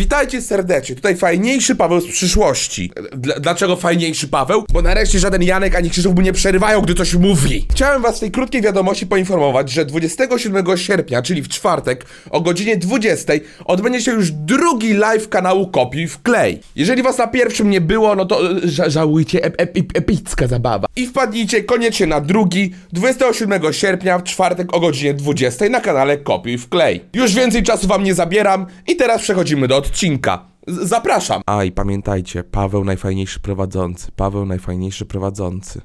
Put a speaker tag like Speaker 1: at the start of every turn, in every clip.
Speaker 1: Witajcie serdecznie. Tutaj fajniejszy Paweł z przyszłości. Dla, dlaczego fajniejszy Paweł? Bo nareszcie żaden Janek ani Krzysztof mu nie przerywają, gdy coś mówi. Chciałem was w tej krótkiej wiadomości poinformować, że 27 sierpnia, czyli w czwartek o godzinie 20 odbędzie się już drugi live kanału Kopiuj w klej. Jeżeli was na pierwszym nie było, no to y, ża żałujcie, ep ep ep- epicka zabawa. I wpadnijcie koniecznie na drugi 27 sierpnia w czwartek o godzinie 20 na kanale Kopiuj w klej. Już więcej czasu wam nie zabieram i teraz przechodzimy do odcinka. Z- Zapraszam. A i pamiętajcie, Paweł najfajniejszy prowadzący. Paweł najfajniejszy prowadzący.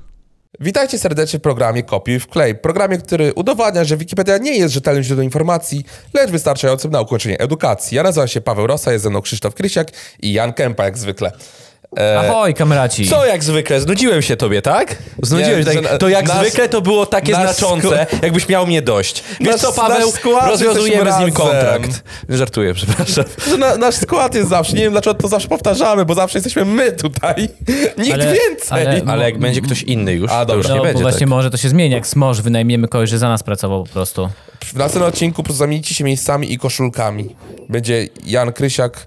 Speaker 1: Witajcie serdecznie w programie Kopiuj w klej. Programie, który udowadnia, że Wikipedia nie jest rzetelnym źródłem informacji, lecz wystarczającym na ukończenie edukacji. Ja nazywam się Paweł Rosa, jest ze mną Krzysztof Krysiak i Jan Kępa jak zwykle.
Speaker 2: Ahoj, kamraci.
Speaker 3: Co jak zwykle? Znudziłem się tobie, tak? Znudziłem
Speaker 1: Nie,
Speaker 3: się.
Speaker 1: że
Speaker 3: Tak, to jak
Speaker 1: nas-
Speaker 3: zwykle to było takie
Speaker 1: nas
Speaker 3: znaczące, jakbyś miał mnie dość. Wiesz
Speaker 1: Nas-
Speaker 3: co, Paweł,
Speaker 1: nasz skład
Speaker 3: rozwiązujemy z
Speaker 1: jesteśmy
Speaker 3: nim kontrakt.
Speaker 1: razem.
Speaker 3: Żartuję, przepraszam.
Speaker 1: że na, nasz skład jest zawsze. Nie wiem dlaczego to zawsze powtarzamy, bo zawsze jesteśmy my tutaj. Nikt
Speaker 2: Ale-
Speaker 1: więcej.
Speaker 2: ale-
Speaker 3: Ale jak będzie ktoś inny już,
Speaker 1: A,
Speaker 3: to już
Speaker 1: dobra.
Speaker 2: No,
Speaker 3: nie
Speaker 2: bo
Speaker 3: będzie
Speaker 2: właśnie
Speaker 3: tak.
Speaker 2: może to się zmieni. Jak smorz, wynajmiemy kogoś, że za nas pracował po prostu.
Speaker 1: W następnym odcinku zamienicie się miejscami i koszulkami. Będzie Jan Krysiak,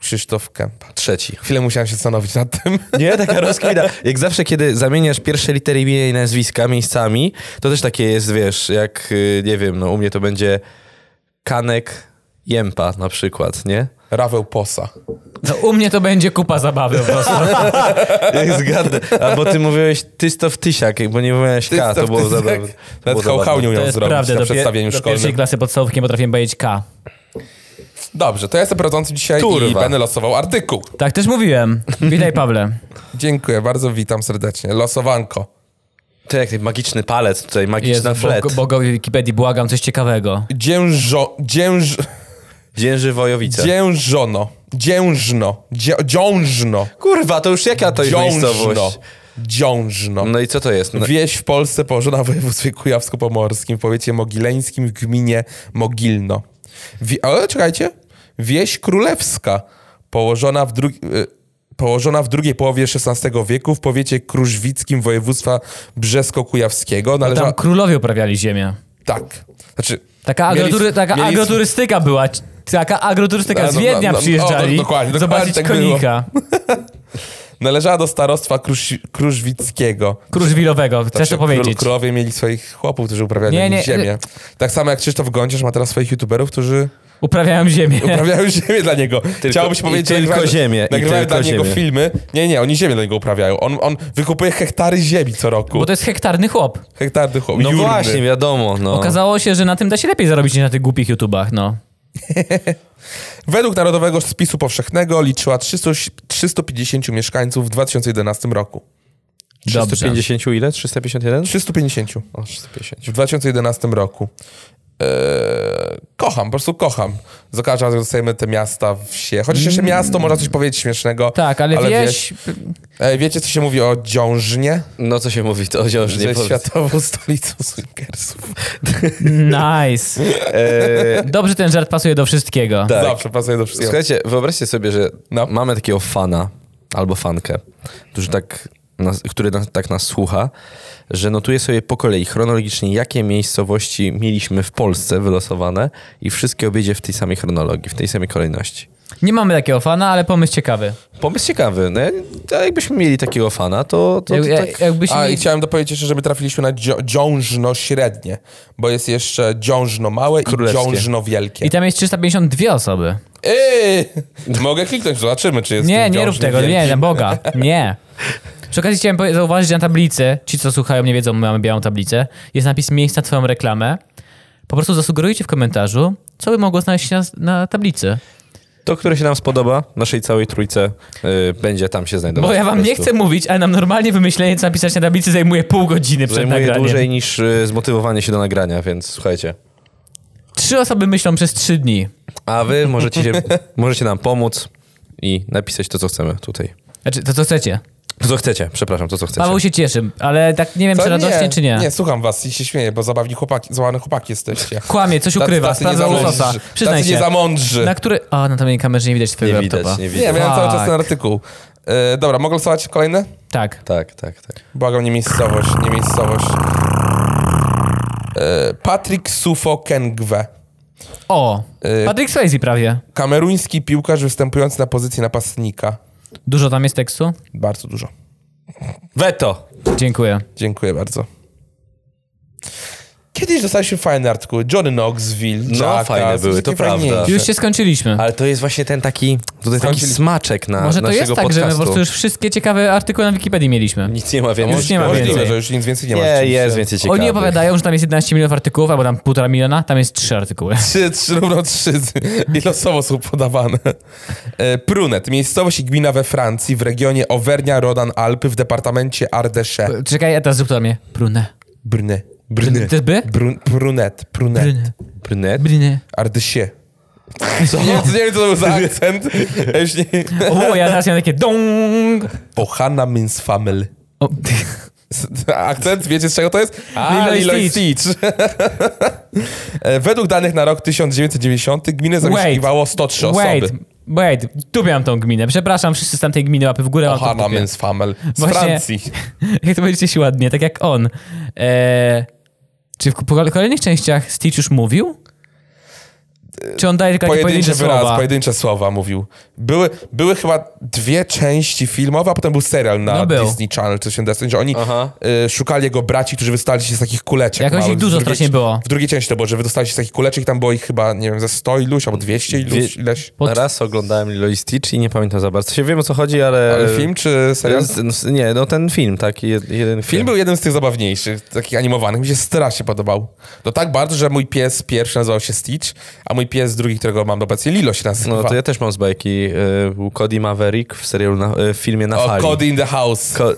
Speaker 1: Krzysztof Kępa.
Speaker 3: Trzeci.
Speaker 1: Chwilę musiałem się zastanowić nad tym.
Speaker 3: Nie, taka rozkwina. Jak zawsze, kiedy zamieniasz pierwsze litery imienia i nazwiska miejscami, to też takie jest, wiesz, jak, y, nie wiem, no u mnie to będzie Kanek Jempa na przykład, nie?
Speaker 1: Raweł Posa.
Speaker 2: No, u mnie to będzie kupa zabawy po prostu.
Speaker 3: Jak zgadnę. Albo ty mówiłeś Tystow Tysiak, bo nie mówiłeś K, to
Speaker 1: Tystow
Speaker 3: było
Speaker 1: Tysiak.
Speaker 3: zabawne. To
Speaker 1: Nawet
Speaker 3: było
Speaker 1: hałhał nie
Speaker 3: zabawne.
Speaker 1: umiał
Speaker 2: To jest
Speaker 1: zrobić
Speaker 2: prawda.
Speaker 1: na
Speaker 2: Do,
Speaker 1: przedstawieniu
Speaker 2: pie- do
Speaker 1: szkolnym.
Speaker 2: pierwszej klasy podstawówki nie potrafiłem powiedzieć K.
Speaker 1: Dobrze, to ja jestem prowadzącym dzisiaj i
Speaker 3: Kurwa.
Speaker 1: będę losował artykuł.
Speaker 2: Tak też mówiłem. Witaj, Pawle.
Speaker 1: Dziękuję bardzo, witam serdecznie. Losowanko.
Speaker 3: To jak ten magiczny palec tutaj,
Speaker 2: Jezu,
Speaker 3: magiczna flet.
Speaker 2: bo- Bogowi Wikipedii błagam coś ciekawego.
Speaker 1: Dziężo... Dzięż...
Speaker 3: Dzięży Wojowice.
Speaker 1: Dziężono. Dziężno. Dzia- Dziążno.
Speaker 3: Kurwa, to już jaka to jest
Speaker 1: Dziążno.
Speaker 3: miejscowość?
Speaker 1: Dziążno.
Speaker 3: No i co to jest? No,
Speaker 1: Wieś w Polsce położona w województwie kujawsko-pomorskim, w powiecie mogileńskim, w gminie Mogilno. Wie, ale czekajcie. Wieś królewska, położona w, dru- y, położona w drugiej połowie XVI wieku w powiecie krużwickim województwa brzesko-kujawskiego. Należała...
Speaker 2: No Tam królowie uprawiali ziemię.
Speaker 1: Tak. Znaczy...
Speaker 2: Taka,
Speaker 1: mieli-
Speaker 2: agrotury, taka
Speaker 1: mieli-
Speaker 2: agroturystyka była. Taka agroturystyka
Speaker 1: A,
Speaker 2: z
Speaker 1: no,
Speaker 2: Wiednia
Speaker 1: no, no,
Speaker 2: przyjeżdżali
Speaker 1: o, dokładnie, dokładnie
Speaker 2: zobaczyć
Speaker 1: tak było.
Speaker 2: konika
Speaker 1: Należała do starostwa Krusz... krużwickiego.
Speaker 2: krużwilowego. Chcesz to
Speaker 1: Zawsze
Speaker 2: powiedzieć?
Speaker 1: Król, królowie mieli swoich chłopów, którzy uprawiali
Speaker 2: Nie, y- nie,
Speaker 1: ziemię. Tak samo jak Krzysztof Gąciarz ma teraz swoich youtuberów, którzy
Speaker 2: Uprawiałem ziemię.
Speaker 1: uprawiają ziemię dla niego. Chciałoby się
Speaker 3: i
Speaker 1: powiedzieć, że
Speaker 3: tylko
Speaker 1: nagrywają-
Speaker 3: ziemię, i
Speaker 1: nagrywają
Speaker 3: tylko
Speaker 1: dla niego
Speaker 3: ziemię.
Speaker 1: filmy. Nie, nie, oni ziemię dla niego uprawiają. On, on wykupuje hektary ziemi co roku.
Speaker 2: Bo to jest hektarny chłop.
Speaker 1: Hektary chłop.
Speaker 3: no
Speaker 1: jurny.
Speaker 3: właśnie, wiadomo. No.
Speaker 2: Okazało się, że na tym da się lepiej zarobić niż na tych głupich YouTubach, no.
Speaker 1: Według Narodowego Spisu Powszechnego liczyła 300, 350 mieszkańców w 2011 roku.
Speaker 2: Dobrze.
Speaker 3: 350 ile? 351?
Speaker 1: 350
Speaker 3: O, 350.
Speaker 1: w 2011 roku. Eee, kocham, po prostu kocham. Za każdym razem dostajemy te miasta, wsie. Chociaż
Speaker 3: Mm.
Speaker 1: jeszcze miasto, można coś powiedzieć śmiesznego.
Speaker 2: Tak, ale, wieś...
Speaker 1: Ej, wiecie, co się mówi o dziążnie?
Speaker 3: No co się mówi, to
Speaker 1: Że
Speaker 3: wiążnie.
Speaker 1: jest światową stolicą swingersów.
Speaker 2: Tak. Nice.
Speaker 1: E,
Speaker 2: Dobrze ten żart pasuje do wszystkiego.
Speaker 3: Tak.
Speaker 1: Zawsze pasuje do wszystkiego.
Speaker 3: Słuchajcie, wyobraźcie sobie, że
Speaker 1: No.
Speaker 3: mamy takiego fana albo fankę, którzy tak nas, który nas, tak nas słucha, że notuje sobie po kolei chronologicznie, jakie miejscowości mieliśmy w Polsce wylosowane i wszystkie objedzie w tej samej chronologii, w tej samej kolejności.
Speaker 2: Nie mamy takiego fana, ale pomysł ciekawy.
Speaker 3: Pomysł ciekawy. No, to jakbyśmy mieli takiego fana, to, to, to
Speaker 2: Jak,
Speaker 3: tak...
Speaker 2: jak, jakbyś
Speaker 1: A i
Speaker 2: nie...
Speaker 1: chciałem dopowiedzieć jeszcze, żeby trafiliśmy na dzio- dziążno średnie, bo jest jeszcze dziążno małe i
Speaker 3: Królewskie.
Speaker 1: dziążno wielkie.
Speaker 2: I tam jest 352 osoby.
Speaker 1: Eee, mogę kliknąć, zobaczymy, czy jest
Speaker 2: Nie,
Speaker 1: tym
Speaker 2: nie rób
Speaker 1: dziążnie
Speaker 2: tego,
Speaker 1: wielkie.
Speaker 2: nie, na Boga, nie. Przy okazji chciałem powie- zauważyć, że na tablicy, ci co słuchają nie wiedzą, my mamy białą tablicę, jest napis miejsca na twoją reklamę. Po prostu zasugerujcie w komentarzu, co by mogło znaleźć się na, na tablicy.
Speaker 3: To, które się nam spodoba, naszej całej trójce, y, będzie tam się znajdować.
Speaker 2: Bo ja
Speaker 3: po
Speaker 2: wam nie
Speaker 3: prostu.
Speaker 2: chcę mówić, ale nam normalnie wymyślenie, co napisać na tablicy zajmuje pół godziny przed
Speaker 3: Zajmuje
Speaker 2: nagraniem.
Speaker 3: dłużej niż y, zmotywowanie się do nagrania, więc słuchajcie.
Speaker 2: Trzy osoby myślą przez trzy dni.
Speaker 3: A wy możecie, się, możecie nam pomóc i napisać to, co chcemy tutaj.
Speaker 2: Znaczy, to co chcecie.
Speaker 3: To, co chcecie, przepraszam, to, co chcecie.
Speaker 2: Paweł się cieszy, ale tak nie wiem,
Speaker 1: Co?
Speaker 2: czy radośnie, czy nie.
Speaker 1: Nie, słucham was i się śmieję, bo zabawni chłopaki, złamane chłopaki jesteście.
Speaker 2: Kłamie, coś
Speaker 1: Tacy-
Speaker 2: ukrywa,
Speaker 1: tacy
Speaker 2: sprawdza
Speaker 1: nie za
Speaker 2: łososa.
Speaker 1: mądrzy.
Speaker 2: Przyznaj
Speaker 1: Tacy
Speaker 2: się.
Speaker 1: nie za mądrzy.
Speaker 2: Na który... O, na tamtej kamerze nie widać twojego
Speaker 3: Nie widać,
Speaker 2: laptopa.
Speaker 3: nie
Speaker 1: Nie,
Speaker 3: widać.
Speaker 1: miałem cały czas ten
Speaker 2: Tak.
Speaker 1: artykuł. E, dobra, mogę losować kolejne?
Speaker 2: Tak.
Speaker 3: Tak, tak, tak.
Speaker 1: Błagam, nie miejscowość, nie miejscowość. E, Patrick Sufo Kengwe.
Speaker 2: O,
Speaker 3: Y-
Speaker 2: Patrick Swayze prawie.
Speaker 1: Kameruński piłkarz występujący na pozycji napastnika.
Speaker 2: Dużo tam jest tekstu?
Speaker 1: Bardzo dużo.
Speaker 3: Weto!
Speaker 2: Dziękuję.
Speaker 1: Dziękuję bardzo. Kiedyś dostaliśmy fajny artykuł. Johnny Knoxville.
Speaker 3: No,
Speaker 1: Jackass,
Speaker 3: fajne były,
Speaker 1: takie
Speaker 3: to prawda.
Speaker 1: fajniejsze.
Speaker 2: Już się skończyliśmy.
Speaker 3: Ale to jest właśnie ten taki, tutaj taki
Speaker 1: Skończyli-
Speaker 3: smaczek na
Speaker 2: Może to
Speaker 3: naszego
Speaker 2: jest tak,
Speaker 3: podcastu.
Speaker 2: że my po prostu już wszystkie ciekawe artykuły na Wikipedii mieliśmy.
Speaker 3: Nic nie ma więcej.
Speaker 2: Już nie ma
Speaker 1: Możliwe,
Speaker 2: więcej.
Speaker 1: że już nic więcej nie ma.
Speaker 3: Nie,
Speaker 1: rzeczywiście.
Speaker 3: jest więcej ciekawych.
Speaker 2: Oni opowiadają, że tam jest 11 milionów artykułów, albo tam półtora miliona, tam jest trzy artykuły.
Speaker 1: Trzy, trzy równo trzy i losowo są podawane. E, Prunet, miejscowość i gmina we Francji w regionie Auvernia-Rodan-Alpy w departamencie Ardèche.
Speaker 2: Czekaj, a teraz zrób to dla mnie. Brune.
Speaker 1: Brny.
Speaker 2: Brny. To jest by?
Speaker 1: Brun, brunet, brunet.
Speaker 2: Brune.
Speaker 3: Brynet?
Speaker 2: Brune.
Speaker 1: Ardèche. Co? Nie, wiem, co- nie wiem, co to był za akcent. Ja już nie...
Speaker 2: O, ja teraz miałem takie dong.
Speaker 1: Ohana Mins Family.
Speaker 2: O,
Speaker 1: Akcent, wiecie z czego to jest?
Speaker 2: Lilo i
Speaker 1: i Stitch. E, Według danych na rok 1990 gminę zamieszkiwało 103
Speaker 2: wait,
Speaker 1: osoby.
Speaker 2: wait, tu miałam tą gminę. Przepraszam, wszyscy z tamtej gminy łapy w górę. mam to w
Speaker 1: Ohana
Speaker 2: dupie.
Speaker 1: Mins Family. Z
Speaker 2: Właśnie-
Speaker 1: Francji.
Speaker 2: Jak to będziecie się ładnie, tak jak on. Eee, czy w po kolejnych częściach Stitch już mówił? Czy on daje tylko takie
Speaker 1: Pojedyncze
Speaker 2: pojedyncze
Speaker 1: wyrazy,
Speaker 2: słowa?
Speaker 1: pojedyncze słowa mówił. Były, były chyba dwie części filmowe, a potem był serial na
Speaker 2: No był.
Speaker 1: Disney Channel, czy się Destiny, że oni
Speaker 3: Aha.
Speaker 1: y, szukali jego braci, którzy wystali się z takich kuleczek.
Speaker 2: Jakoś
Speaker 1: małych.
Speaker 2: ich dużo
Speaker 1: W drugiej-
Speaker 2: strasznie było.
Speaker 1: W drugiej części to było, że wydostali się z takich kuleczek i tam było ich chyba, nie wiem, ze 100 iluś albo 200 iluś,
Speaker 3: Dwie-
Speaker 1: ileś.
Speaker 2: Pod-
Speaker 3: Raz oglądałem Lilo i Stitch i nie pamiętam za bardzo. Się wiem o co chodzi, ale...
Speaker 1: Ale film czy serial?
Speaker 3: Z- z- Nie, no ten film, tak? jed- Jeden
Speaker 1: Film był jeden z tych zabawniejszych, takich animowanych. Mi się strasznie podobał. To tak bardzo, że mój pies pierwszy nazywał się Stitch, a mój pies drugi, którego mam obecnie, Lilo się nazywa.
Speaker 3: No to ja też mam z bajki. y, Był Cody Maverick w serialu, na, y, w filmie Na
Speaker 1: o,
Speaker 3: fali.
Speaker 1: Cody in the House.
Speaker 3: Co,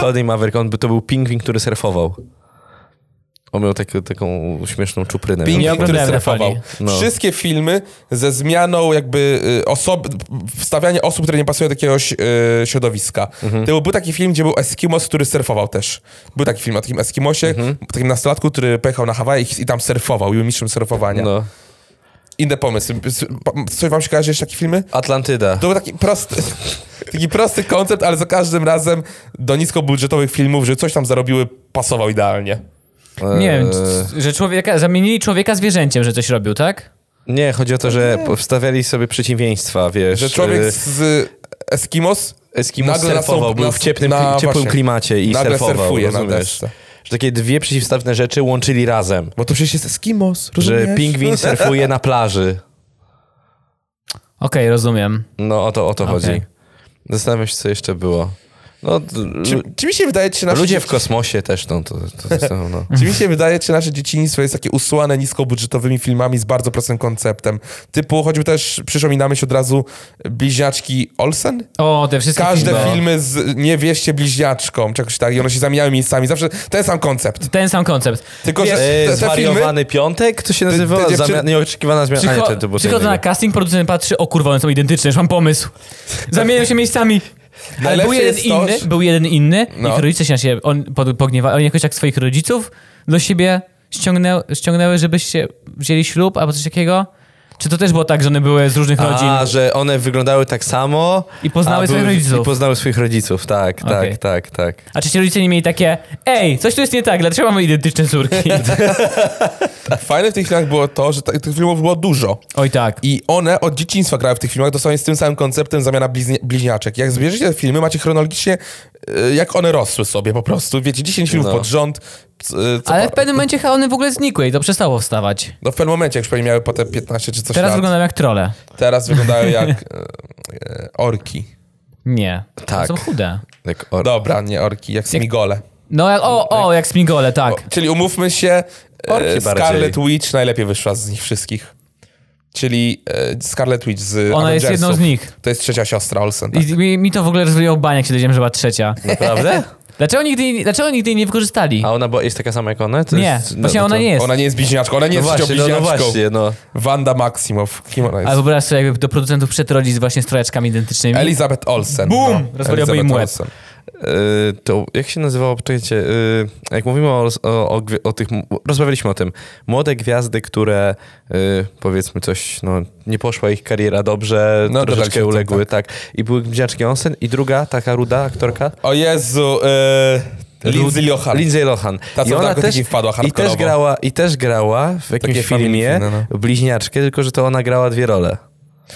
Speaker 3: Cody Maverick, on by, to był pingwin, który surfował. On miał taki, taką śmieszną czuprynę.
Speaker 1: Pingwin, który
Speaker 2: oglądałem na fali.
Speaker 1: strefował.
Speaker 3: No.
Speaker 1: Wszystkie filmy ze zmianą jakby y, osob, wstawianie osób, które nie pasują do jakiegoś y, środowiska.
Speaker 3: Mhm.
Speaker 1: To był taki film, gdzie był Eskimos, który surfował też. Był taki film o takim Eskimosie,
Speaker 3: Mhm.
Speaker 1: takim nastolatku, który pojechał na Hawaje i, i tam surfował, i był mistrzem surfowania.
Speaker 3: No.
Speaker 1: Inne pomysły. S- pa- Coś wam się kojarzy jeszcze takie filmy?
Speaker 3: Atlantyda.
Speaker 1: To był taki prosty, taki prosty koncept, ale za każdym razem do niskobudżetowych filmów, że coś tam zarobiły, pasował idealnie.
Speaker 2: Nie wiem,
Speaker 1: E.
Speaker 3: Eee,
Speaker 2: c- że człowieka, zamienili człowieka zwierzęciem, że coś robił, tak?
Speaker 3: nie, chodzi o to, że wstawiali sobie przeciwieństwa, wiesz.
Speaker 1: Że człowiek
Speaker 3: y,
Speaker 1: z, z Eskimos
Speaker 3: Eskimo
Speaker 1: nagle na
Speaker 3: surfował,
Speaker 1: są-
Speaker 3: był
Speaker 1: na-
Speaker 3: w ciepłym,
Speaker 1: na-
Speaker 3: ciepłym
Speaker 1: właśnie.
Speaker 3: klimacie i
Speaker 1: Nagle
Speaker 3: surfował,
Speaker 1: surfuje na tak.
Speaker 3: rozumiesz?
Speaker 1: desce.
Speaker 3: że takie dwie przeciwstawne rzeczy łączyli razem.
Speaker 1: Bo to przecież jest Eskimos, rozumiesz?
Speaker 3: Że pingwin surfuje na plaży.
Speaker 2: Okej, rozumiem.
Speaker 3: No o to, o to
Speaker 2: Okej.
Speaker 3: chodzi. Zastanawiam się, co jeszcze było. No, d-
Speaker 1: Czy, czy mi się wydaje, czy nasze,
Speaker 3: ludzie w
Speaker 1: dzieci,
Speaker 3: kosmosie też, no to, to, to są, no.
Speaker 1: czy mi się wydaje, czy nasze dzieciństwo jest takie usłane niskobudżetowymi filmami z bardzo prostym konceptem? Typu, choćby też przyszło mi na myśl od razu bliźniaczki Olsen?
Speaker 2: O, te wszystkie
Speaker 1: Każde
Speaker 3: no.
Speaker 2: filmy.
Speaker 1: filmy z Nie wieście bliźniaczką, czegoś tak, i one się zamieniały miejscami. Zawsze ten sam koncept.
Speaker 2: Ten sam koncept.
Speaker 1: Tylko, że
Speaker 3: E,
Speaker 1: te, te filmy...
Speaker 3: zwariowany piątek? To się nazywa?
Speaker 1: te dziewczyny-
Speaker 3: Zamia- nieoczekiwana zmiana. A nie, to, to
Speaker 2: Przycho-
Speaker 3: było co
Speaker 2: Przychodzę na
Speaker 3: innego.
Speaker 2: casting, producent patrzy, o kurwa, one są identyczne, już mam pomysł. Zamieniają się miejscami. Ale
Speaker 1: Najlepsze
Speaker 2: był jeden
Speaker 1: jest to,
Speaker 2: inny,
Speaker 1: że-
Speaker 2: był jeden inny,
Speaker 1: No.
Speaker 2: ich rodzice się na siebie, on pod- pogniewa, oni jakoś tak swoich rodziców do siebie ściągnę, ściągnęły, żebyście wzięli ślub albo coś takiego. Czy to też było tak, że one były z różnych rodzin?
Speaker 3: A, że one wyglądały tak samo.
Speaker 2: I poznały
Speaker 3: a
Speaker 2: swoich
Speaker 3: były-
Speaker 2: rodziców.
Speaker 3: I poznały swoich rodziców, tak,
Speaker 2: Okej.
Speaker 3: tak, tak, tak.
Speaker 2: A czy ci rodzice nie mieli takie, ej, coś tu jest nie tak, dlaczego mamy identyczne córki?
Speaker 1: Fajne w tych filmach było to, że tak- tych filmów było dużo.
Speaker 2: Oj tak.
Speaker 1: I one od dzieciństwa grały w tych filmach, dosłownie z tym samym konceptem zamiana bliznie, bliźniaczek. Jak zbierzecie te filmy, macie chronologicznie, y, jak one rosły sobie po prostu. Wiecie, 10 filmów
Speaker 3: No.
Speaker 1: pod rząd. c- y, co
Speaker 2: Ale w
Speaker 1: parę-
Speaker 2: pewnym momencie chyba one w ogóle znikły i to przestało wstawać.
Speaker 1: No w pewnym momencie, jak już pewnie miały potem 15 czy coś
Speaker 2: Teraz
Speaker 1: lat.
Speaker 2: wyglądają jak trole.
Speaker 1: Teraz wyglądają jak e, e, orki.
Speaker 2: Nie.
Speaker 3: Tak.
Speaker 2: Są chude.
Speaker 3: Jak or...
Speaker 1: Dobra, nie orki, jak smigole.
Speaker 2: No, jak, o, o, jak Smigole, tak.
Speaker 1: Czyli umówmy się, e,
Speaker 3: Orki bardziej.
Speaker 1: Scarlet Witch najlepiej wyszła z nich wszystkich. Czyli e, Scarlet Witch z
Speaker 2: Ona jest
Speaker 1: Avengersów.
Speaker 2: jedną z nich.
Speaker 1: To jest trzecia siostra Olsen. Tak?
Speaker 2: I, mi, mi to w ogóle rozwaliło banie, jak się dowiedziałem, że była trzecia.
Speaker 3: Naprawdę?
Speaker 2: Dlaczego nigdy, jej- dlaczego nigdy jej nie wykorzystali?
Speaker 3: A ona była, jest taka sama jak one? To
Speaker 2: Nie,
Speaker 3: jest,
Speaker 2: właśnie
Speaker 3: no
Speaker 2: ona
Speaker 3: to-
Speaker 2: nie jest.
Speaker 1: Ona nie jest bliźniaczką, ona nie
Speaker 3: No
Speaker 1: jest
Speaker 3: właśnie, no,
Speaker 1: bliźniaczką.
Speaker 3: no właśnie, no.
Speaker 1: Wanda Maximow. Kim ona jest?
Speaker 2: Ale wyobraź sobie, jakby do producentów przed rodzic właśnie z trojaczkami identycznymi.
Speaker 1: Elizabeth Olsen. No,
Speaker 2: Bum! Rozwaliłaby
Speaker 1: Elizabeth
Speaker 2: im łeb.
Speaker 1: Olsen.
Speaker 3: Y, to jak się nazywało, poczekajcie, y, jak mówimy o, o, o, gwie- o tych, rozmawialiśmy o tym, młode gwiazdy, które y, powiedzmy coś, no nie poszła ich kariera dobrze,
Speaker 1: No, dodali się
Speaker 3: troszeczkę tak.
Speaker 1: tam,
Speaker 3: uległy, tak. I były Gmziaczki Onsen i druga, taka ruda aktorka,
Speaker 1: O Jezu, e, Lindsay Lohan.
Speaker 3: Lindsay Lohan.
Speaker 1: Ta, co
Speaker 3: I
Speaker 1: w
Speaker 3: ona
Speaker 1: narkotyki
Speaker 3: też,
Speaker 1: wpadła
Speaker 3: i też
Speaker 1: hardkorowo.
Speaker 3: grała I też grała w jakimś
Speaker 1: Takie
Speaker 3: filmie
Speaker 1: familijne, no.
Speaker 3: bliźniaczkę, tylko że to ona grała dwie role.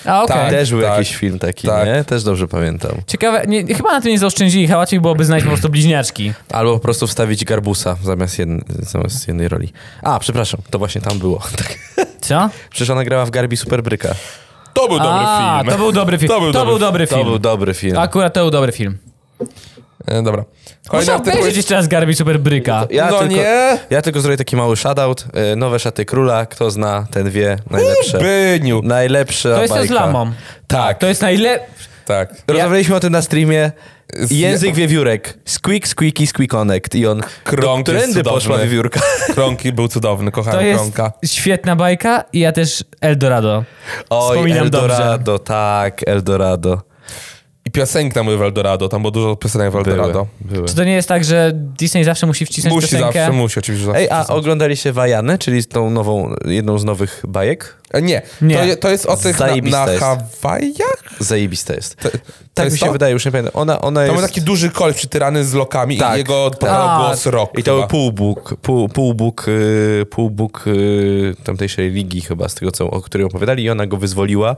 Speaker 2: A okej.
Speaker 1: Tak.
Speaker 3: też był jakiś film taki,
Speaker 1: tak.
Speaker 3: nie? Też dobrze pamiętam.
Speaker 2: Ciekawe, nie, chyba na tym nie zaoszczędzili, chyba łatwiej byłoby znaleźć po prostu bliźniaczki.
Speaker 3: Albo po prostu wstawić garbusa zamiast, jedn, zamiast jednej roli. A, przepraszam, to właśnie tam było. Tak.
Speaker 2: Co?
Speaker 3: Przecież ona grała w Garbi Superbryka.
Speaker 1: To był dobry
Speaker 2: A,
Speaker 1: film.
Speaker 2: to był dobry film.
Speaker 1: To był dobry
Speaker 2: film.
Speaker 3: To był dobry film. Tak.
Speaker 2: Akurat to był dobry film.
Speaker 1: E, dobra. Kolejny
Speaker 2: Muszę
Speaker 1: artykuł
Speaker 2: obejrzeć
Speaker 1: jest...
Speaker 2: jeszcze raz Garbi Super Bryka.
Speaker 3: Ja,
Speaker 1: No
Speaker 3: tylko,
Speaker 1: nie.
Speaker 3: ja tylko zrobię taki mały shoutout. E, Nowe szaty króla, kto zna, ten wie. Najlepsze.
Speaker 1: Byniu.
Speaker 3: Najlepsza
Speaker 2: To jest
Speaker 3: bajka.
Speaker 2: z Lamą.
Speaker 1: Tak,
Speaker 2: To jest najlepszy.
Speaker 1: tak.
Speaker 3: Rozmawialiśmy o tym na streamie.
Speaker 1: Z-
Speaker 3: Język wiewiórek. Squeak, squeaky, squeakonek. I on
Speaker 1: Krąg jest
Speaker 3: trendy
Speaker 1: cudowny.
Speaker 3: poszła wiewiórka.
Speaker 1: Krąki był cudowny, kochałem
Speaker 2: To jest
Speaker 1: Krąka.
Speaker 2: świetna bajka i ja też Eldorado.
Speaker 3: Oj,
Speaker 2: Wspominam
Speaker 3: Eldorado,
Speaker 2: dobrze.
Speaker 3: tak, Eldorado.
Speaker 1: I piosenki tam były w Eldorado, tam było dużo piosenek w Eldorado.
Speaker 3: Były, były.
Speaker 2: Czy to nie jest tak, że Disney zawsze musi wcisnąć
Speaker 1: Musi
Speaker 2: piosenkę?
Speaker 1: zawsze, musi oczywiście zawsze.
Speaker 3: Ej, a oglądaliście Wajanę, czyli tą nową, jedną z nowych bajek?
Speaker 1: E, Nie,
Speaker 2: Nie.
Speaker 1: To, je- to jest o tych
Speaker 3: Zajebista
Speaker 1: na, na
Speaker 3: jest.
Speaker 1: Hawajach?
Speaker 3: Zajebista jest. tak
Speaker 1: jest
Speaker 3: mi się
Speaker 1: to?
Speaker 3: wydaje, już nie pamiętam. Ona, ona
Speaker 1: Tam
Speaker 3: jest...
Speaker 1: był taki duży koleś przytyrany z lokami
Speaker 3: Tak,
Speaker 1: i jego
Speaker 3: tak.
Speaker 1: tak.
Speaker 2: A,
Speaker 1: głos rok
Speaker 3: I to
Speaker 1: chyba.
Speaker 3: był półbóg, pół, półbóg, yy, półbóg yy, tamtejszej ligi chyba, z tego, co, o której opowiadali i ona go wyzwoliła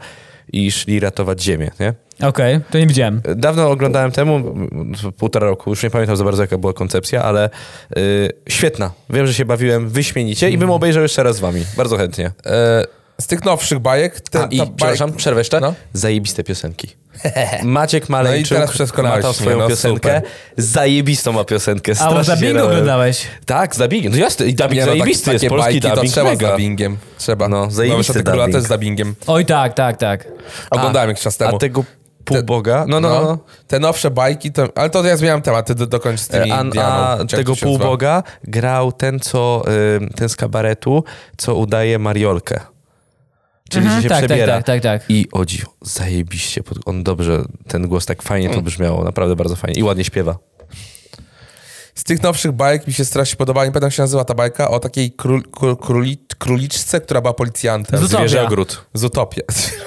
Speaker 3: i szli ratować ziemię, nie?
Speaker 2: Okej, to nie widziałem.
Speaker 3: Dawno oglądałem temu, m, półtora roku, już nie pamiętam za bardzo jaka była koncepcja, ale yy, świetna. Wiem, że się bawiłem wyśmienicie i bym obejrzał jeszcze raz z wami, bardzo chętnie.
Speaker 1: E, z tych nowszych bajek... Te,
Speaker 3: A, i,
Speaker 1: ta baj-
Speaker 3: przepraszam, przerwę jeszcze.
Speaker 1: No.
Speaker 3: Zajebiste piosenki. Maciek Maleńczyk
Speaker 1: No i teraz przekonałeś
Speaker 3: ma tą
Speaker 1: mnie,
Speaker 3: swoją
Speaker 1: no
Speaker 3: piosenkę.
Speaker 1: super.
Speaker 3: Zajebistą ma piosenkę.
Speaker 2: A
Speaker 3: Strasznie
Speaker 2: bo dubbingu
Speaker 3: rałem.
Speaker 2: oglądałeś.
Speaker 3: Tak, z dubbingiem. No jasne, i dubbing
Speaker 1: Nie, no,
Speaker 3: zajebisty
Speaker 1: tak,
Speaker 3: jest,
Speaker 1: takie
Speaker 3: polski
Speaker 1: bajki to
Speaker 3: dubbing
Speaker 1: trzeba z
Speaker 3: mega.
Speaker 1: dubbingiem. Trzeba.
Speaker 3: No, zajebisty
Speaker 1: Nowy Szatek Króla
Speaker 3: dubbing.
Speaker 1: też z dubbingiem.
Speaker 2: Oj tak, tak, tak.
Speaker 1: Oglądałem jakiś czas temu.
Speaker 3: A tego półboga? No, no, no. no.
Speaker 1: Te nowsze bajki, to, ale to ja zmieniam temat, ty do, dokończ z tymi
Speaker 3: E, A, a
Speaker 1: Indianą, czy jak
Speaker 3: tego
Speaker 1: to się nazywa.
Speaker 3: półboga grał ten, co, ym, ten z kabaretu, co udaje Mariolkę. Czyli
Speaker 2: Mhm,
Speaker 3: że się
Speaker 2: tak, tak,
Speaker 3: przebiera.
Speaker 2: tak, tak, tak.
Speaker 3: I o dziwo, zajebiście. pod- On dobrze, ten głos tak fajnie
Speaker 1: Mm.
Speaker 3: to brzmiało, naprawdę bardzo fajnie. I ładnie śpiewa.
Speaker 1: Z tych nowszych bajek mi się strasznie podoba, nie pamiętam jak się nazywa ta bajka, o takiej król, król, króli, króliczce, która była policjantem.
Speaker 2: Zootopia.
Speaker 3: Zwierzęgród.
Speaker 1: Zootopia.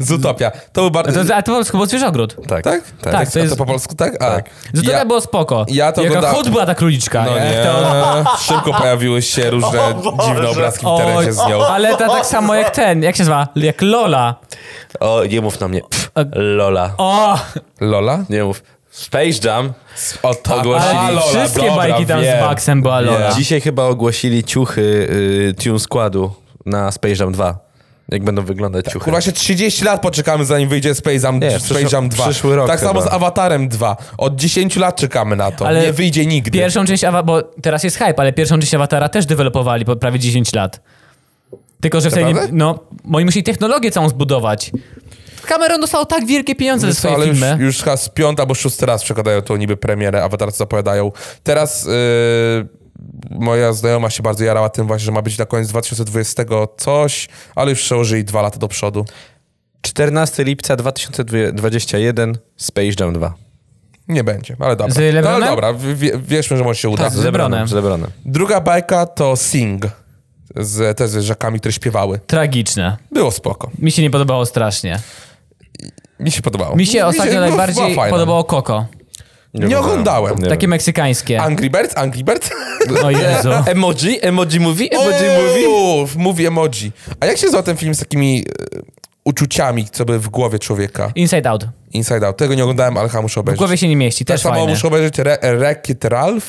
Speaker 1: Zootopia. To był
Speaker 2: A
Speaker 1: bardzo...
Speaker 2: to, a to po polsku było zwierzogród.
Speaker 3: Tak.
Speaker 1: Tak?
Speaker 3: tak.
Speaker 2: Tak. to
Speaker 1: to,
Speaker 2: jest-
Speaker 1: to po polsku, tak? A,
Speaker 3: Tak.
Speaker 2: Zootopia
Speaker 1: ja-
Speaker 2: było spoko.
Speaker 1: ja to
Speaker 2: Jaka
Speaker 1: ogląda-
Speaker 2: chód była ta króliczka.
Speaker 1: No nie, szybko pojawiły się różne dziwne obrazki w internecie z nią.
Speaker 2: Oj, ale ta tak samo jak ten, jak się nazywa? Jak Lola.
Speaker 3: O, nie mów na mnie. Pff, Lola.
Speaker 2: O!
Speaker 1: Lola?
Speaker 3: Nie mów. Space Jam.
Speaker 1: O, ta,
Speaker 3: Ogłosili.
Speaker 1: a, Lola,
Speaker 2: Wszystkie
Speaker 1: dobra,
Speaker 2: bajki tam
Speaker 1: wiem.
Speaker 2: z Baxem była Lola.
Speaker 3: Dzisiaj chyba ogłosili ciuchy y, tune składu na Space Jam 2. Jak będą wyglądać ciuchy.
Speaker 1: Kurwa się 30 lat poczekamy, zanim wyjdzie Space Jam,
Speaker 3: Nie,
Speaker 1: Space
Speaker 3: przyszły-
Speaker 1: Jam 2.
Speaker 3: przyszły rok
Speaker 1: tak samo
Speaker 3: chyba.
Speaker 1: z Avatarem 2. Od 10 lat czekamy na to.
Speaker 2: Ale
Speaker 1: nie wyjdzie nigdy.
Speaker 2: Pierwszą część Awatara, bo teraz jest hype, ale pierwszą część Awatara też dewelopowali po prawie 10 lat. Tylko, że wtedy,
Speaker 1: Naprawdę?
Speaker 2: no, bo oni musieli technologię całą zbudować. Cameron dostał tak wielkie pieniądze ze
Speaker 1: Wiesz co,
Speaker 2: swojej
Speaker 1: ale już,
Speaker 2: filmy.
Speaker 1: już chyba z piąty albo szósty raz przekładają tą niby premierę, Avatar co zapowiadają. Teraz yy, moja znajoma się bardzo jarała tym właśnie, że ma być na koniec 2020 coś, ale już przełożyli dwa lata do przodu.
Speaker 3: 14 lipca 2021 Space Jam 2.
Speaker 1: Nie będzie, ale dobra.
Speaker 2: Z Lebronem?
Speaker 1: No, ale dobra, wie, wierzmy, że może się uda.
Speaker 2: Tak, z- Lebronem.
Speaker 3: Z Lebronem.
Speaker 1: Druga bajka to Sing. Z, też z rzekami, które śpiewały.
Speaker 2: Tragiczne.
Speaker 1: Było spoko.
Speaker 2: Mi się nie podobało strasznie.
Speaker 1: Mi się podobało.
Speaker 2: Mi się ostatnio
Speaker 1: było- była
Speaker 2: najbardziej
Speaker 1: fajna.
Speaker 2: podobało Coco.
Speaker 1: Nie oglądałem.
Speaker 3: Nie
Speaker 2: Takie
Speaker 3: wiem.
Speaker 2: meksykańskie.
Speaker 1: Angry Birds, Angry Birds.
Speaker 2: O Jezu.
Speaker 3: Emoji? Emoji movie? Emoji movie?
Speaker 1: Uuu, mówi emoji. A jak się nazywa ten film z takimi e, uczuciami, co by w głowie człowieka?
Speaker 2: Inside Out.
Speaker 1: Inside Out. Tego nie oglądałem, ale chyba muszę
Speaker 2: W
Speaker 1: obejrzeć.
Speaker 2: głowie się nie mieści,
Speaker 1: tak
Speaker 2: też
Speaker 1: samo
Speaker 2: fajne.
Speaker 1: muszę obejrzeć Re Wreck-It Ralph.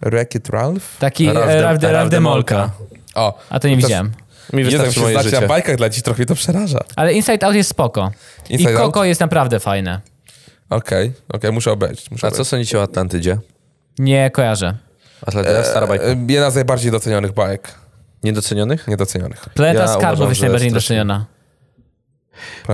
Speaker 1: Wreck-It Ralph?
Speaker 2: Taki
Speaker 3: Ralph
Speaker 2: e,
Speaker 3: de-
Speaker 2: Ralph de-
Speaker 3: Ralph
Speaker 2: Ralph
Speaker 3: de
Speaker 2: Demolka.
Speaker 3: Molka.
Speaker 1: O.
Speaker 2: A to nie
Speaker 1: Teraz-
Speaker 2: widziałem.
Speaker 3: Mi
Speaker 1: Nie wiem,
Speaker 3: wystarczy
Speaker 1: się znaczy
Speaker 3: moje
Speaker 1: znacie
Speaker 3: życie.
Speaker 1: na bajkach dla dzieci, trochę mnie to przeraża.
Speaker 2: Ale Inside Out jest spoko.
Speaker 1: Inside
Speaker 2: I
Speaker 1: Out?
Speaker 2: Coco jest naprawdę fajne.
Speaker 1: Okej, okej, muszę obejrzeć. Muszę
Speaker 3: A co
Speaker 1: obejrzeć.
Speaker 3: sądzicie o Atlantydzie?
Speaker 2: Nie kojarzę.
Speaker 3: Atlantyda, stara bajka.
Speaker 1: E, Jedna z najbardziej docenionych bajek.
Speaker 3: Niedocenionych?
Speaker 1: Niedocenionych.
Speaker 2: Planeta
Speaker 3: Ja
Speaker 2: Skarbów
Speaker 3: uważam,
Speaker 2: jest
Speaker 3: że
Speaker 2: najbardziej
Speaker 3: strasznie-
Speaker 2: doceniona.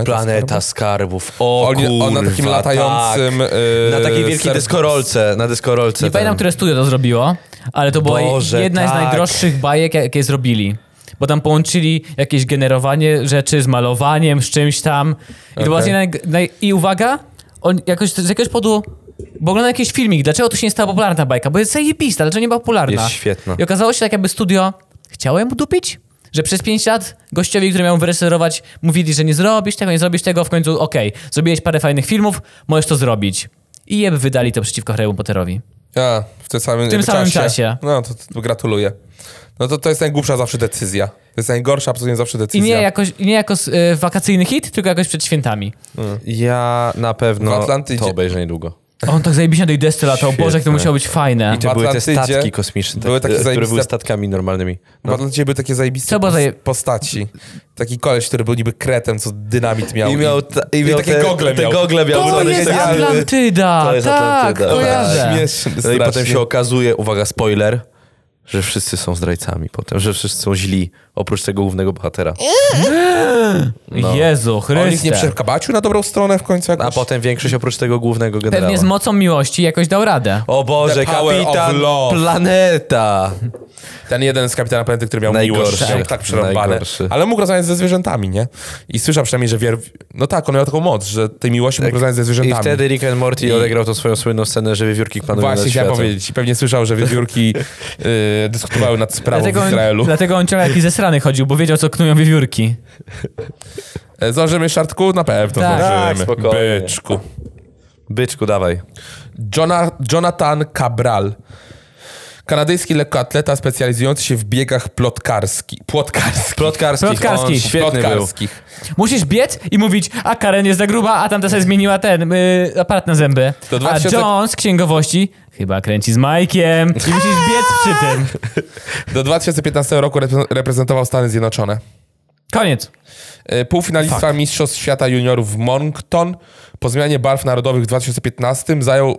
Speaker 3: Planeta Skarbów. O
Speaker 1: O, nie,
Speaker 3: kurwa,
Speaker 1: o, na takim
Speaker 3: tak.
Speaker 1: latającym... e,
Speaker 3: Na takiej wielkiej
Speaker 1: ser-
Speaker 3: deskorolce, na deskorolce.
Speaker 2: Nie pamiętam,
Speaker 3: tam.
Speaker 2: które studio to zrobiło, ale to była
Speaker 3: Boże,
Speaker 2: jedna z
Speaker 3: tak.
Speaker 2: najdroższych bajek, jakie zrobili. Bo tam połączyli jakieś generowanie rzeczy z malowaniem, z czymś tam. I to była
Speaker 1: Okej.
Speaker 2: jedna, naj... I uwaga, on jakoś, z jakiegoś powodu... Bo oglądam jakiś filmik, dlaczego to się nie stała popularna ta bajka? Bo jest zajebista, dlaczego nie była popularna?
Speaker 3: Jest świetna.
Speaker 2: I okazało się tak, jakby studio chciało ją dupić, że przez 5 lat gościowi, który miał wyreżyserować, mówili, że nie zrobisz tego, nie zrobisz tego, w końcu okej, zrobiłeś parę fajnych filmów, możesz to zrobić. I jeb wydali to przeciwko Harry'emu Potterowi.
Speaker 1: A, w tym samym, jakby
Speaker 2: samym czasie.
Speaker 1: No, to, to gratuluję. No to, to jest najgłupsza zawsze decyzja. To jest najgorsza absolutnie zawsze
Speaker 2: I nie
Speaker 1: decyzja.
Speaker 2: jakoś, i nie jako y, wakacyjny hit, tylko jakoś przed świętami.
Speaker 3: mm. Ja na
Speaker 1: W
Speaker 3: pewno
Speaker 1: Atlantydzie.
Speaker 3: to obejrzę niedługo.
Speaker 2: A On tak zajebiście na tej desce latał. Boże, jak to
Speaker 3: Świetne.
Speaker 2: musiało być fajne.
Speaker 3: I to były te
Speaker 1: Atlantydzie
Speaker 3: statki kosmiczne,
Speaker 1: były
Speaker 3: były
Speaker 1: takie
Speaker 3: takie No, które
Speaker 1: zajebiste-
Speaker 3: były statkami normalnymi.
Speaker 1: Bo No, dla ciebie były takie zajebiste
Speaker 2: Co było
Speaker 1: pos-
Speaker 2: zaje-
Speaker 1: postaci. Taki koleś, który był niby kretem, co dynamit miał.
Speaker 3: I miał, ta, i
Speaker 1: i
Speaker 3: miał
Speaker 1: takie
Speaker 3: te,
Speaker 1: gogle
Speaker 3: te
Speaker 1: miał.
Speaker 3: gogle miał. tak
Speaker 2: To
Speaker 3: Były
Speaker 2: jest
Speaker 3: takie-
Speaker 2: Atlantyda!
Speaker 3: To jest
Speaker 2: tak,
Speaker 3: Atlantyda.
Speaker 2: kojarzę.
Speaker 1: Śmieszny,
Speaker 3: No i potem
Speaker 1: strasznie.
Speaker 3: się okazuje, uwaga, spoiler, że wszyscy są zdrajcami potem, że wszyscy są źli, oprócz tego głównego bohatera.
Speaker 2: No. Jezu
Speaker 1: On ich nie
Speaker 2: Chryste.
Speaker 1: przekabacił na dobrą stronę w końcu jakoś?
Speaker 3: A potem większość oprócz tego głównego generała.
Speaker 2: Pewnie z mocą miłości jakoś dał radę.
Speaker 3: O Boże,
Speaker 1: The power of
Speaker 3: kapitan
Speaker 1: love.
Speaker 3: planeta!
Speaker 1: Ten jeden z kapitana planety, który miał
Speaker 3: Najgorszy.
Speaker 1: miłość, miał tak przerąbane.
Speaker 3: Najgorszy.
Speaker 1: Ale mógł rozmawiać ze zwierzętami, nie? I słyszał przynajmniej, że wier... No tak, on miał taką moc, że tej miłości mógł rozmawiać ze
Speaker 3: Tak. I
Speaker 1: zwierzętami.
Speaker 3: wtedy Rick and Morty
Speaker 1: I-
Speaker 3: odegrał tą swoją słynną scenę, że wiewiórki panują nad
Speaker 1: Właśnie chciałem
Speaker 3: światem.
Speaker 1: powiedzieć. I pewnie słyszał, że wiewiórki y, dyskutowały nad sprawą
Speaker 2: Dlatego
Speaker 1: w
Speaker 2: on,
Speaker 1: Izraelu.
Speaker 2: dlatego on ciągle jakiś zesrany chodził, bo wiedział, co knują wiewiórki.
Speaker 1: E, Zdążymy, Szartku? Na pewno
Speaker 2: Tak.
Speaker 3: Tak,
Speaker 1: zdążymy.
Speaker 3: spokojnie.
Speaker 1: Byczku.
Speaker 3: Byczku, dawaj.
Speaker 1: Jona, Jonathan Cabral. Kanadyjski lekkoatleta specjalizujący się w biegach plotkarski, płotkarskich.
Speaker 3: Plotkarski.
Speaker 2: Plotkarski.
Speaker 3: On świetny był.
Speaker 1: plotkarskich.
Speaker 2: Musisz biec i mówić, a Karen jest za gruba, a tamta sobie zmieniła ten y, aparat na zęby.
Speaker 1: To
Speaker 2: A
Speaker 1: 2000
Speaker 2: John z księgowości chyba kręci z Majkiem. I musisz biec przy tym.
Speaker 1: Do 2015 roku repre- reprezentował Stany Zjednoczone.
Speaker 2: Koniec.
Speaker 1: E, Półfinalista Mistrzostw Świata Juniorów w Moncton po zmianie barw narodowych w 2015 zajął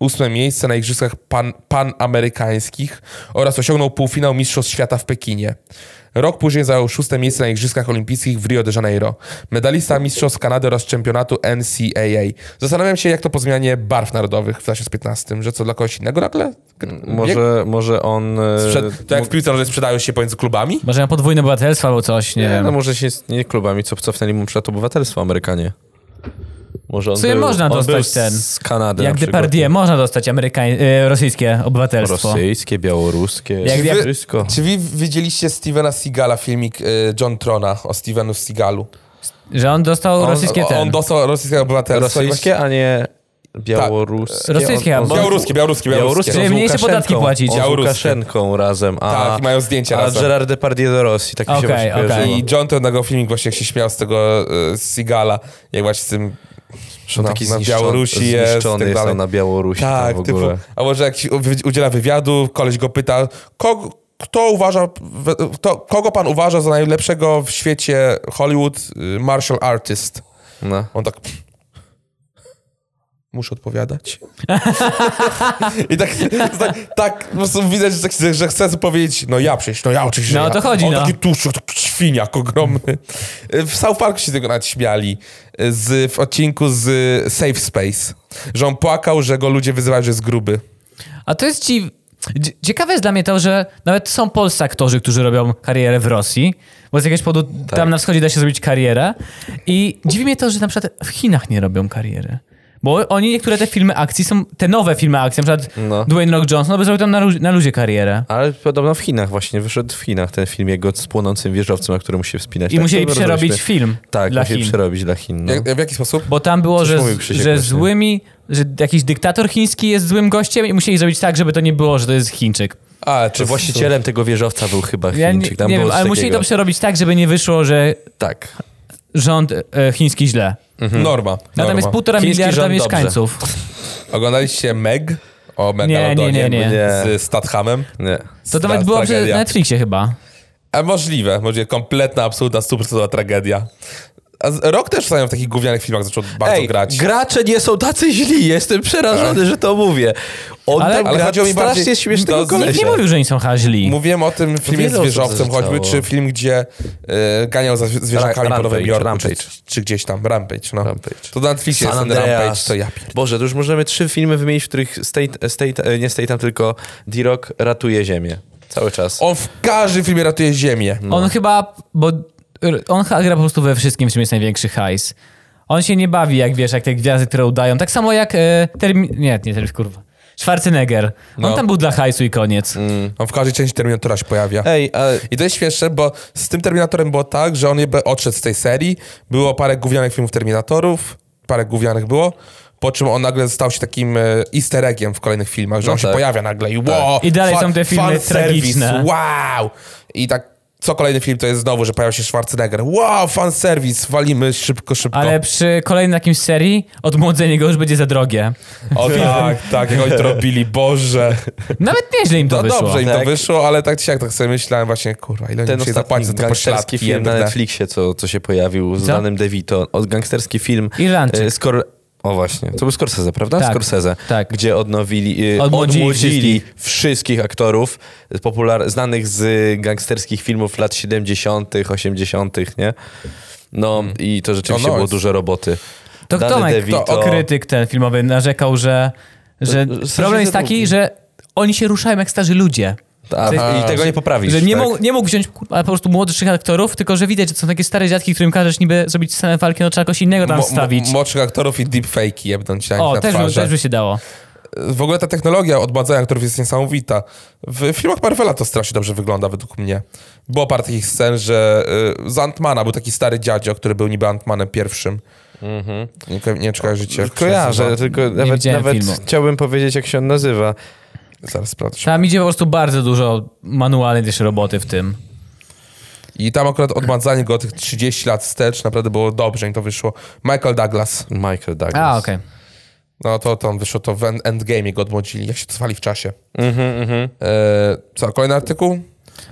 Speaker 1: ósme miejsce na Igrzyskach pan, Panamerykańskich oraz osiągnął półfinał Mistrzostw Świata w Pekinie. Rok później zajął szóste miejsce na Igrzyskach Olimpijskich w Rio de Janeiro. Medalista Mistrzostw Kanady oraz Czempionatu NCAA. Zastanawiam się, jak to po zmianie barw narodowych w 2015, że co dla kogoś innego nagle?
Speaker 3: Może, może on... e,
Speaker 1: Sprzed, tak- to jak w piłce, że sprzedają się pomiędzy klubami?
Speaker 2: Może na podwójne obywatelstwo albo coś, nie,
Speaker 3: Nie,
Speaker 2: wiem.
Speaker 3: no może się z- nie klubami, co cofnęli mu przed obywatelstwo Amerykanie. Może on
Speaker 2: W sumie
Speaker 3: był,
Speaker 2: można
Speaker 3: on
Speaker 2: dostać
Speaker 3: był z-
Speaker 2: ten,
Speaker 3: Z Kanady
Speaker 2: Jak
Speaker 3: na przykład. No,
Speaker 2: Depardieu można dostać amerykań, y, rosyjskie obywatelstwo.
Speaker 3: Rosyjskie, białoruskie,
Speaker 2: Jak- jak-
Speaker 3: wszystko.
Speaker 1: Czy wy widzieliście Stevena Seagala, filmik y, John Trona o Stevenu Seagalu?
Speaker 2: Że on dostał
Speaker 1: On,
Speaker 2: rosyjskie ten.
Speaker 1: on dostał rosyjskie obywatelstwo. i
Speaker 3: Rosyjskie, a nie białoruskie.
Speaker 2: Tak. Rosyjskie,
Speaker 3: On- on-
Speaker 2: bo-
Speaker 1: Białoruskie, białoruskie, białoruskie.
Speaker 2: Czyli
Speaker 3: on z
Speaker 2: mniejsze
Speaker 3: Łukaszenką-
Speaker 2: podatki płacić.
Speaker 3: on Z
Speaker 1: Białoruskie.
Speaker 3: Łukaszenką razem, a,
Speaker 1: Tak, i mają zdjęcia
Speaker 3: a
Speaker 1: razem.
Speaker 3: Gerard Depardieu do Rosji, tak mi się
Speaker 2: Okej,
Speaker 3: właśnie
Speaker 2: okej.
Speaker 3: kojarzyło.
Speaker 1: I John Tron nagrał filmik właśnie, jak się śmiał z tego y, Seagala, jak właśnie z tym...
Speaker 3: Że on
Speaker 1: na-
Speaker 3: taki
Speaker 1: na
Speaker 3: zniszczony-
Speaker 1: Białorusi jest,
Speaker 3: zniszczony
Speaker 1: tak
Speaker 3: jest
Speaker 1: dalej.
Speaker 3: on na Białorusi
Speaker 1: Tak,
Speaker 3: tam w
Speaker 1: typu,
Speaker 3: ogóle.
Speaker 1: a może jak się uwi- udziela wywiadu, koleś go pyta, kogo, kto uważa, we- to, kogo pan uważa za najlepszego w świecie Hollywood y, martial artist?
Speaker 3: No.
Speaker 1: On tak. Muszę odpowiadać. I tak, tak, tak po prostu widać, że, tak, że chce powiedzieć, no ja przecież, no ja oczywiście.
Speaker 2: No,
Speaker 1: ja.
Speaker 2: o to chodzi,
Speaker 1: On
Speaker 2: no.
Speaker 1: taki tłuszcz, taki świniak ogromny. W South Parku się tego nawet śmiali. Z, w odcinku z Safe Space. Że on płakał, że go ludzie wyzywają, że jest gruby.
Speaker 2: A to jest ci. dzie- Ciekawe jest dla mnie to, że nawet są polscy aktorzy, którzy robią karierę w Rosji, bo z jakiegoś powodu
Speaker 3: Tak.
Speaker 2: tam na wschodzie da się zrobić karierę. I dziwi mnie to, że na przykład w Chinach nie robią kariery. Bo oni niektóre te filmy akcji są, te nowe filmy akcji, na przykład
Speaker 3: No.
Speaker 2: Dwayne Rock Johnson, by zrobił tam na, lu- na luzie karierę.
Speaker 3: Ale podobno w Chinach właśnie, wyszedł w Chinach ten film jego z płonącym wieżowcem, na który musi wspinać.
Speaker 2: I
Speaker 3: Tak,
Speaker 2: musieli
Speaker 3: to
Speaker 2: przerobić
Speaker 3: robiliśmy.
Speaker 2: film
Speaker 3: Tak,
Speaker 2: dla
Speaker 3: musieli
Speaker 2: Chin.
Speaker 3: przerobić dla Chin. No.
Speaker 1: Jak, w jaki sposób?
Speaker 2: Bo tam było,
Speaker 3: Coś
Speaker 2: że,
Speaker 3: mówił Krzysiek
Speaker 2: że
Speaker 3: właśnie.
Speaker 2: złymi, że jakiś dyktator chiński jest złym gościem i musieli zrobić tak, żeby to nie było, że to jest Chińczyk.
Speaker 1: A,
Speaker 3: Czy właścicielem tego wieżowca był chyba
Speaker 2: Ja nie,
Speaker 3: Chińczyk? Tam
Speaker 2: nie
Speaker 3: było
Speaker 2: wiem,
Speaker 3: coś
Speaker 2: ale musieli
Speaker 3: takiego.
Speaker 2: to przerobić tak, żeby nie wyszło, że
Speaker 3: Tak.
Speaker 2: rząd e, chiński źle.
Speaker 1: Norma.
Speaker 2: Natomiast
Speaker 1: norma.
Speaker 2: półtora
Speaker 3: No Chiński
Speaker 2: miliarda
Speaker 3: rząd dobrze.
Speaker 2: mieszkańców.
Speaker 1: Oglądaliście Meg? O
Speaker 2: nie,
Speaker 1: Megalodonie.
Speaker 2: nie, nie.
Speaker 1: Z Stathamem.
Speaker 3: Nie.
Speaker 2: To nawet było przy
Speaker 1: Tragedia.
Speaker 2: Netflixie chyba.
Speaker 1: A możliwe, możliwe. Kompletna, absolutna, stuprocentowa tragedia. A z- Rok też w takich gównianych filmach zaczął bardzo
Speaker 3: Ej,
Speaker 1: grać.
Speaker 3: gracze nie są tacy źli, jestem przerażony, że to mówię. On
Speaker 2: Ale-
Speaker 3: ale, tam
Speaker 1: ale
Speaker 3: gra
Speaker 1: chodziło mi
Speaker 3: strasznie
Speaker 1: bardziej-
Speaker 3: śmiesznego
Speaker 1: No,
Speaker 2: Nikt
Speaker 3: kolesia.
Speaker 2: nie mówił, że oni są haźli.
Speaker 1: Mówiłem o tym filmie
Speaker 3: wiele
Speaker 1: z
Speaker 3: osób
Speaker 1: wieżowcem
Speaker 3: zarzucało.
Speaker 1: choćby, czy film, gdzie y, ganiał za zwi- zwierzakami po Nowym
Speaker 3: Rampage,
Speaker 1: Jorku, czy,
Speaker 3: Rampage.
Speaker 1: czy gdzieś tam. Rampage, no.
Speaker 3: Rampage.
Speaker 1: To na Netflixie jest ten Rampage, to ja pier-
Speaker 3: Boże, to już możemy trzy filmy wymienić, w których state, state, e, nie Statham, tylko D-Rock ratuje ziemię. Cały czas.
Speaker 1: On w każdym filmie ratuje ziemię.
Speaker 3: no.
Speaker 2: On chyba, bo r- on ha- gra po prostu we wszystkim, w czym jest największy hajs. On się nie bawi, jak wiesz, jak te gwiazdy, które udają. Tak samo jak e, termin... Nie, nie termin, kurwa. Schwarzenegger. On
Speaker 1: No.
Speaker 2: tam był dla hajsu i koniec.
Speaker 1: On w każdej części Terminatora się pojawia.
Speaker 3: Mm. Ej, ale
Speaker 1: I to jest śmieszne, bo z tym Terminatorem było tak, że on jakby odszedł z tej serii. Było parę gównianych filmów Terminatorów, parę gównianych było. po czym on nagle stał się takim e, easter eggiem w kolejnych filmach, że
Speaker 3: No
Speaker 1: on się
Speaker 3: tak.
Speaker 1: pojawia nagle i wow,
Speaker 2: I dalej są te filmy
Speaker 1: fanserwis,
Speaker 2: tragiczne.
Speaker 1: wow! I tak co kolejny film to jest znowu, że pojawia się Schwarzenegger, wow, fanserwis, walimy szybko, szybko.
Speaker 2: Ale przy kolejnym jakimś serii odmłodzenie go już będzie za drogie.
Speaker 1: O tak, tak, jak oni to robili, Boże.
Speaker 2: Nawet nieźle im to
Speaker 1: No
Speaker 2: wyszło.
Speaker 1: dobrze im to
Speaker 3: Tak.
Speaker 1: wyszło, ale tak czy siak, tak sobie myślałem właśnie, kurwa, ile
Speaker 3: Ten
Speaker 1: oni się
Speaker 3: ostatni
Speaker 1: zapłaci za te
Speaker 3: gangsterski
Speaker 1: pośladki
Speaker 3: film na
Speaker 1: jedne.
Speaker 3: Netflixie, co, co się pojawił z
Speaker 2: Co?
Speaker 3: danym DeVito. Od gangsterski film.
Speaker 2: Irlandczyk.
Speaker 3: e, Scor- o właśnie, to był Scorsese, prawda?
Speaker 2: Tak.
Speaker 3: Scorsese.
Speaker 2: Tak.
Speaker 3: Gdzie odnowili, e,
Speaker 2: Odmłodzili
Speaker 3: odmłodzili
Speaker 2: wszystkich.
Speaker 3: wszystkich. aktorów z popular- znanych z e, gangsterskich filmów lat 70., 80., nie? No i to
Speaker 1: No,
Speaker 3: rzeczywiście
Speaker 1: no,
Speaker 3: było
Speaker 1: jest-
Speaker 3: dużo roboty.
Speaker 2: Hmm. To
Speaker 3: Dany
Speaker 2: Tomek,
Speaker 3: DeVito-
Speaker 2: to krytyk ten filmowy, narzekał, że, że
Speaker 3: W sensie,
Speaker 2: problem jest
Speaker 3: że-
Speaker 2: taki, że oni się ruszają jak starzy ludzie.
Speaker 3: A, I tego nie poprawisz.
Speaker 2: Że nie,
Speaker 3: tak?
Speaker 2: mógł, nie mógł wziąć kurwa, po prostu młodszych aktorów, tylko że widać, że są takie stare dziadki, którym każesz niby zrobić scenę walki, no trzeba kogoś innego tam
Speaker 1: Mo- mo-
Speaker 2: wstawić.
Speaker 1: Młodszych aktorów i deepfake'i jebnąć jak
Speaker 2: O,
Speaker 1: na
Speaker 2: też, by-
Speaker 1: twarze.
Speaker 2: też by się dało.
Speaker 1: W ogóle ta technologia odmładzania aktorów jest niesamowita. W filmach Marvela to strasznie dobrze wygląda, według mnie. Było parę takich scen, że y, z Antmana był taki stary dziadzio, który był niby Antmanem pierwszym. Nie, ko- nie czekaj życie.
Speaker 3: Kojarzę, tylko nawet,
Speaker 2: widziałem
Speaker 3: nawet
Speaker 2: filmu.
Speaker 3: chciałbym powiedzieć, jak się on nazywa.
Speaker 1: Zaraz sprawdzę.
Speaker 2: Tam idzie po prostu bardzo dużo manualnej też roboty w tym.
Speaker 1: I tam akurat odmładzanie go tych 30 lat wstecz naprawdę było dobrze im to wyszło. Michael Douglas.
Speaker 3: Michael Douglas.
Speaker 2: A, okej.
Speaker 1: No to tam wyszło to w End- Endgame go odmłodzili. Jak się to zwali w czasie. E, co, kolejny artykuł?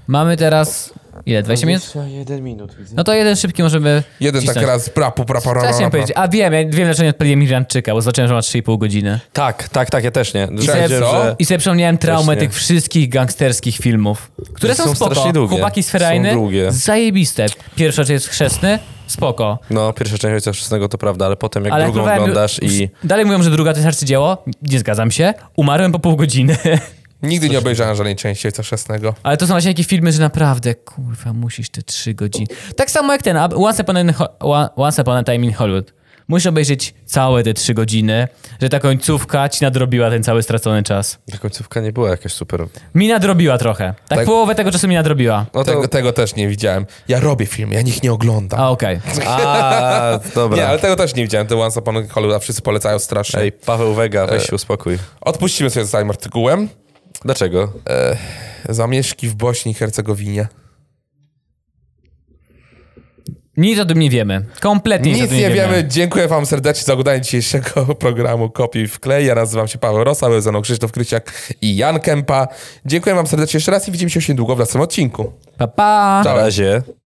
Speaker 2: Mamy teraz... Ile? 20 minut?
Speaker 3: Jeden minut widzę.
Speaker 2: No to jeden szybki możemy
Speaker 1: Jeden
Speaker 2: wcisnąć.
Speaker 1: tak raz prapu,
Speaker 3: No,
Speaker 1: prapa,
Speaker 2: Co ja chciałem powiedzieć? A wiem, ja wiem dlaczego nie odpaliłem Irlandczyka, bo zobaczyłem, że ma 3,5 godziny.
Speaker 3: Tak, tak, tak, ja też nie.
Speaker 1: sobie-
Speaker 3: Powiedziałem,
Speaker 1: co?
Speaker 2: I sobie przypomniałem traumę
Speaker 3: Właśnie.
Speaker 2: tych wszystkich gangsterskich filmów, które są,
Speaker 3: Są
Speaker 2: spoko.
Speaker 3: strasznie długie.
Speaker 2: Chłopaki z
Speaker 3: Są
Speaker 2: Ferajny,
Speaker 3: długie.
Speaker 2: zajebiste. Pierwsza część jest chrzestny, spoko.
Speaker 3: No, pierwsza część Ojca Chrzestnego to prawda, ale potem jak drugą
Speaker 2: próbowałem-
Speaker 3: oglądasz i...
Speaker 2: Dalej mówią, że druga to jest arcydzieło, nie zgadzam się. Umarłem po pół godziny.
Speaker 1: Nigdy nie obejrzałem żadnej części Ojca Chrzestnego.
Speaker 2: Ale to są właśnie takie filmy, że naprawdę, kurwa, musisz te trzy godziny. Tak samo jak ten a- Once Upon, in, Ho- Wa- Once Upon a Time in Hollywood. Musisz obejrzeć całe te trzy godziny, że ta końcówka ci nadrobiła ten cały stracony czas.
Speaker 3: Ta końcówka nie była jakaś super.
Speaker 2: Mi nadrobiła trochę. Tak,
Speaker 1: Tak.
Speaker 2: połowę tego czasu mi nadrobiła.
Speaker 3: No to...
Speaker 1: Tego, tego też nie widziałem. Ja robię filmy, ja ich nie oglądam.
Speaker 2: A okej.
Speaker 3: A, dobra.
Speaker 1: Nie, ale tak- tego też nie widziałem. The Once Upon a Hollywood, a wszyscy polecają strasznie.
Speaker 3: Ej, Paweł Wega, weź się uspokój.
Speaker 1: Odpuścimy sobie z całym artykułem.
Speaker 3: Dlaczego?
Speaker 1: Zamieszki w Bośni i Hercegowinie.
Speaker 2: Nic o tym nie wiemy. Kompletnie nic,
Speaker 1: Nic
Speaker 2: o tym nie,
Speaker 1: nie wiemy. Dziękuję wam serdecznie za oglądanie dzisiejszego programu Kopiuj w klej. Ja nazywam się Paweł Rosa, był ze mną Krzysztof Kryciak i Jan Kępa. Dziękuję wam serdecznie jeszcze raz i widzimy się już niedługo w następnym odcinku.
Speaker 2: Pa, pa.
Speaker 1: Cześć.
Speaker 3: Na razie.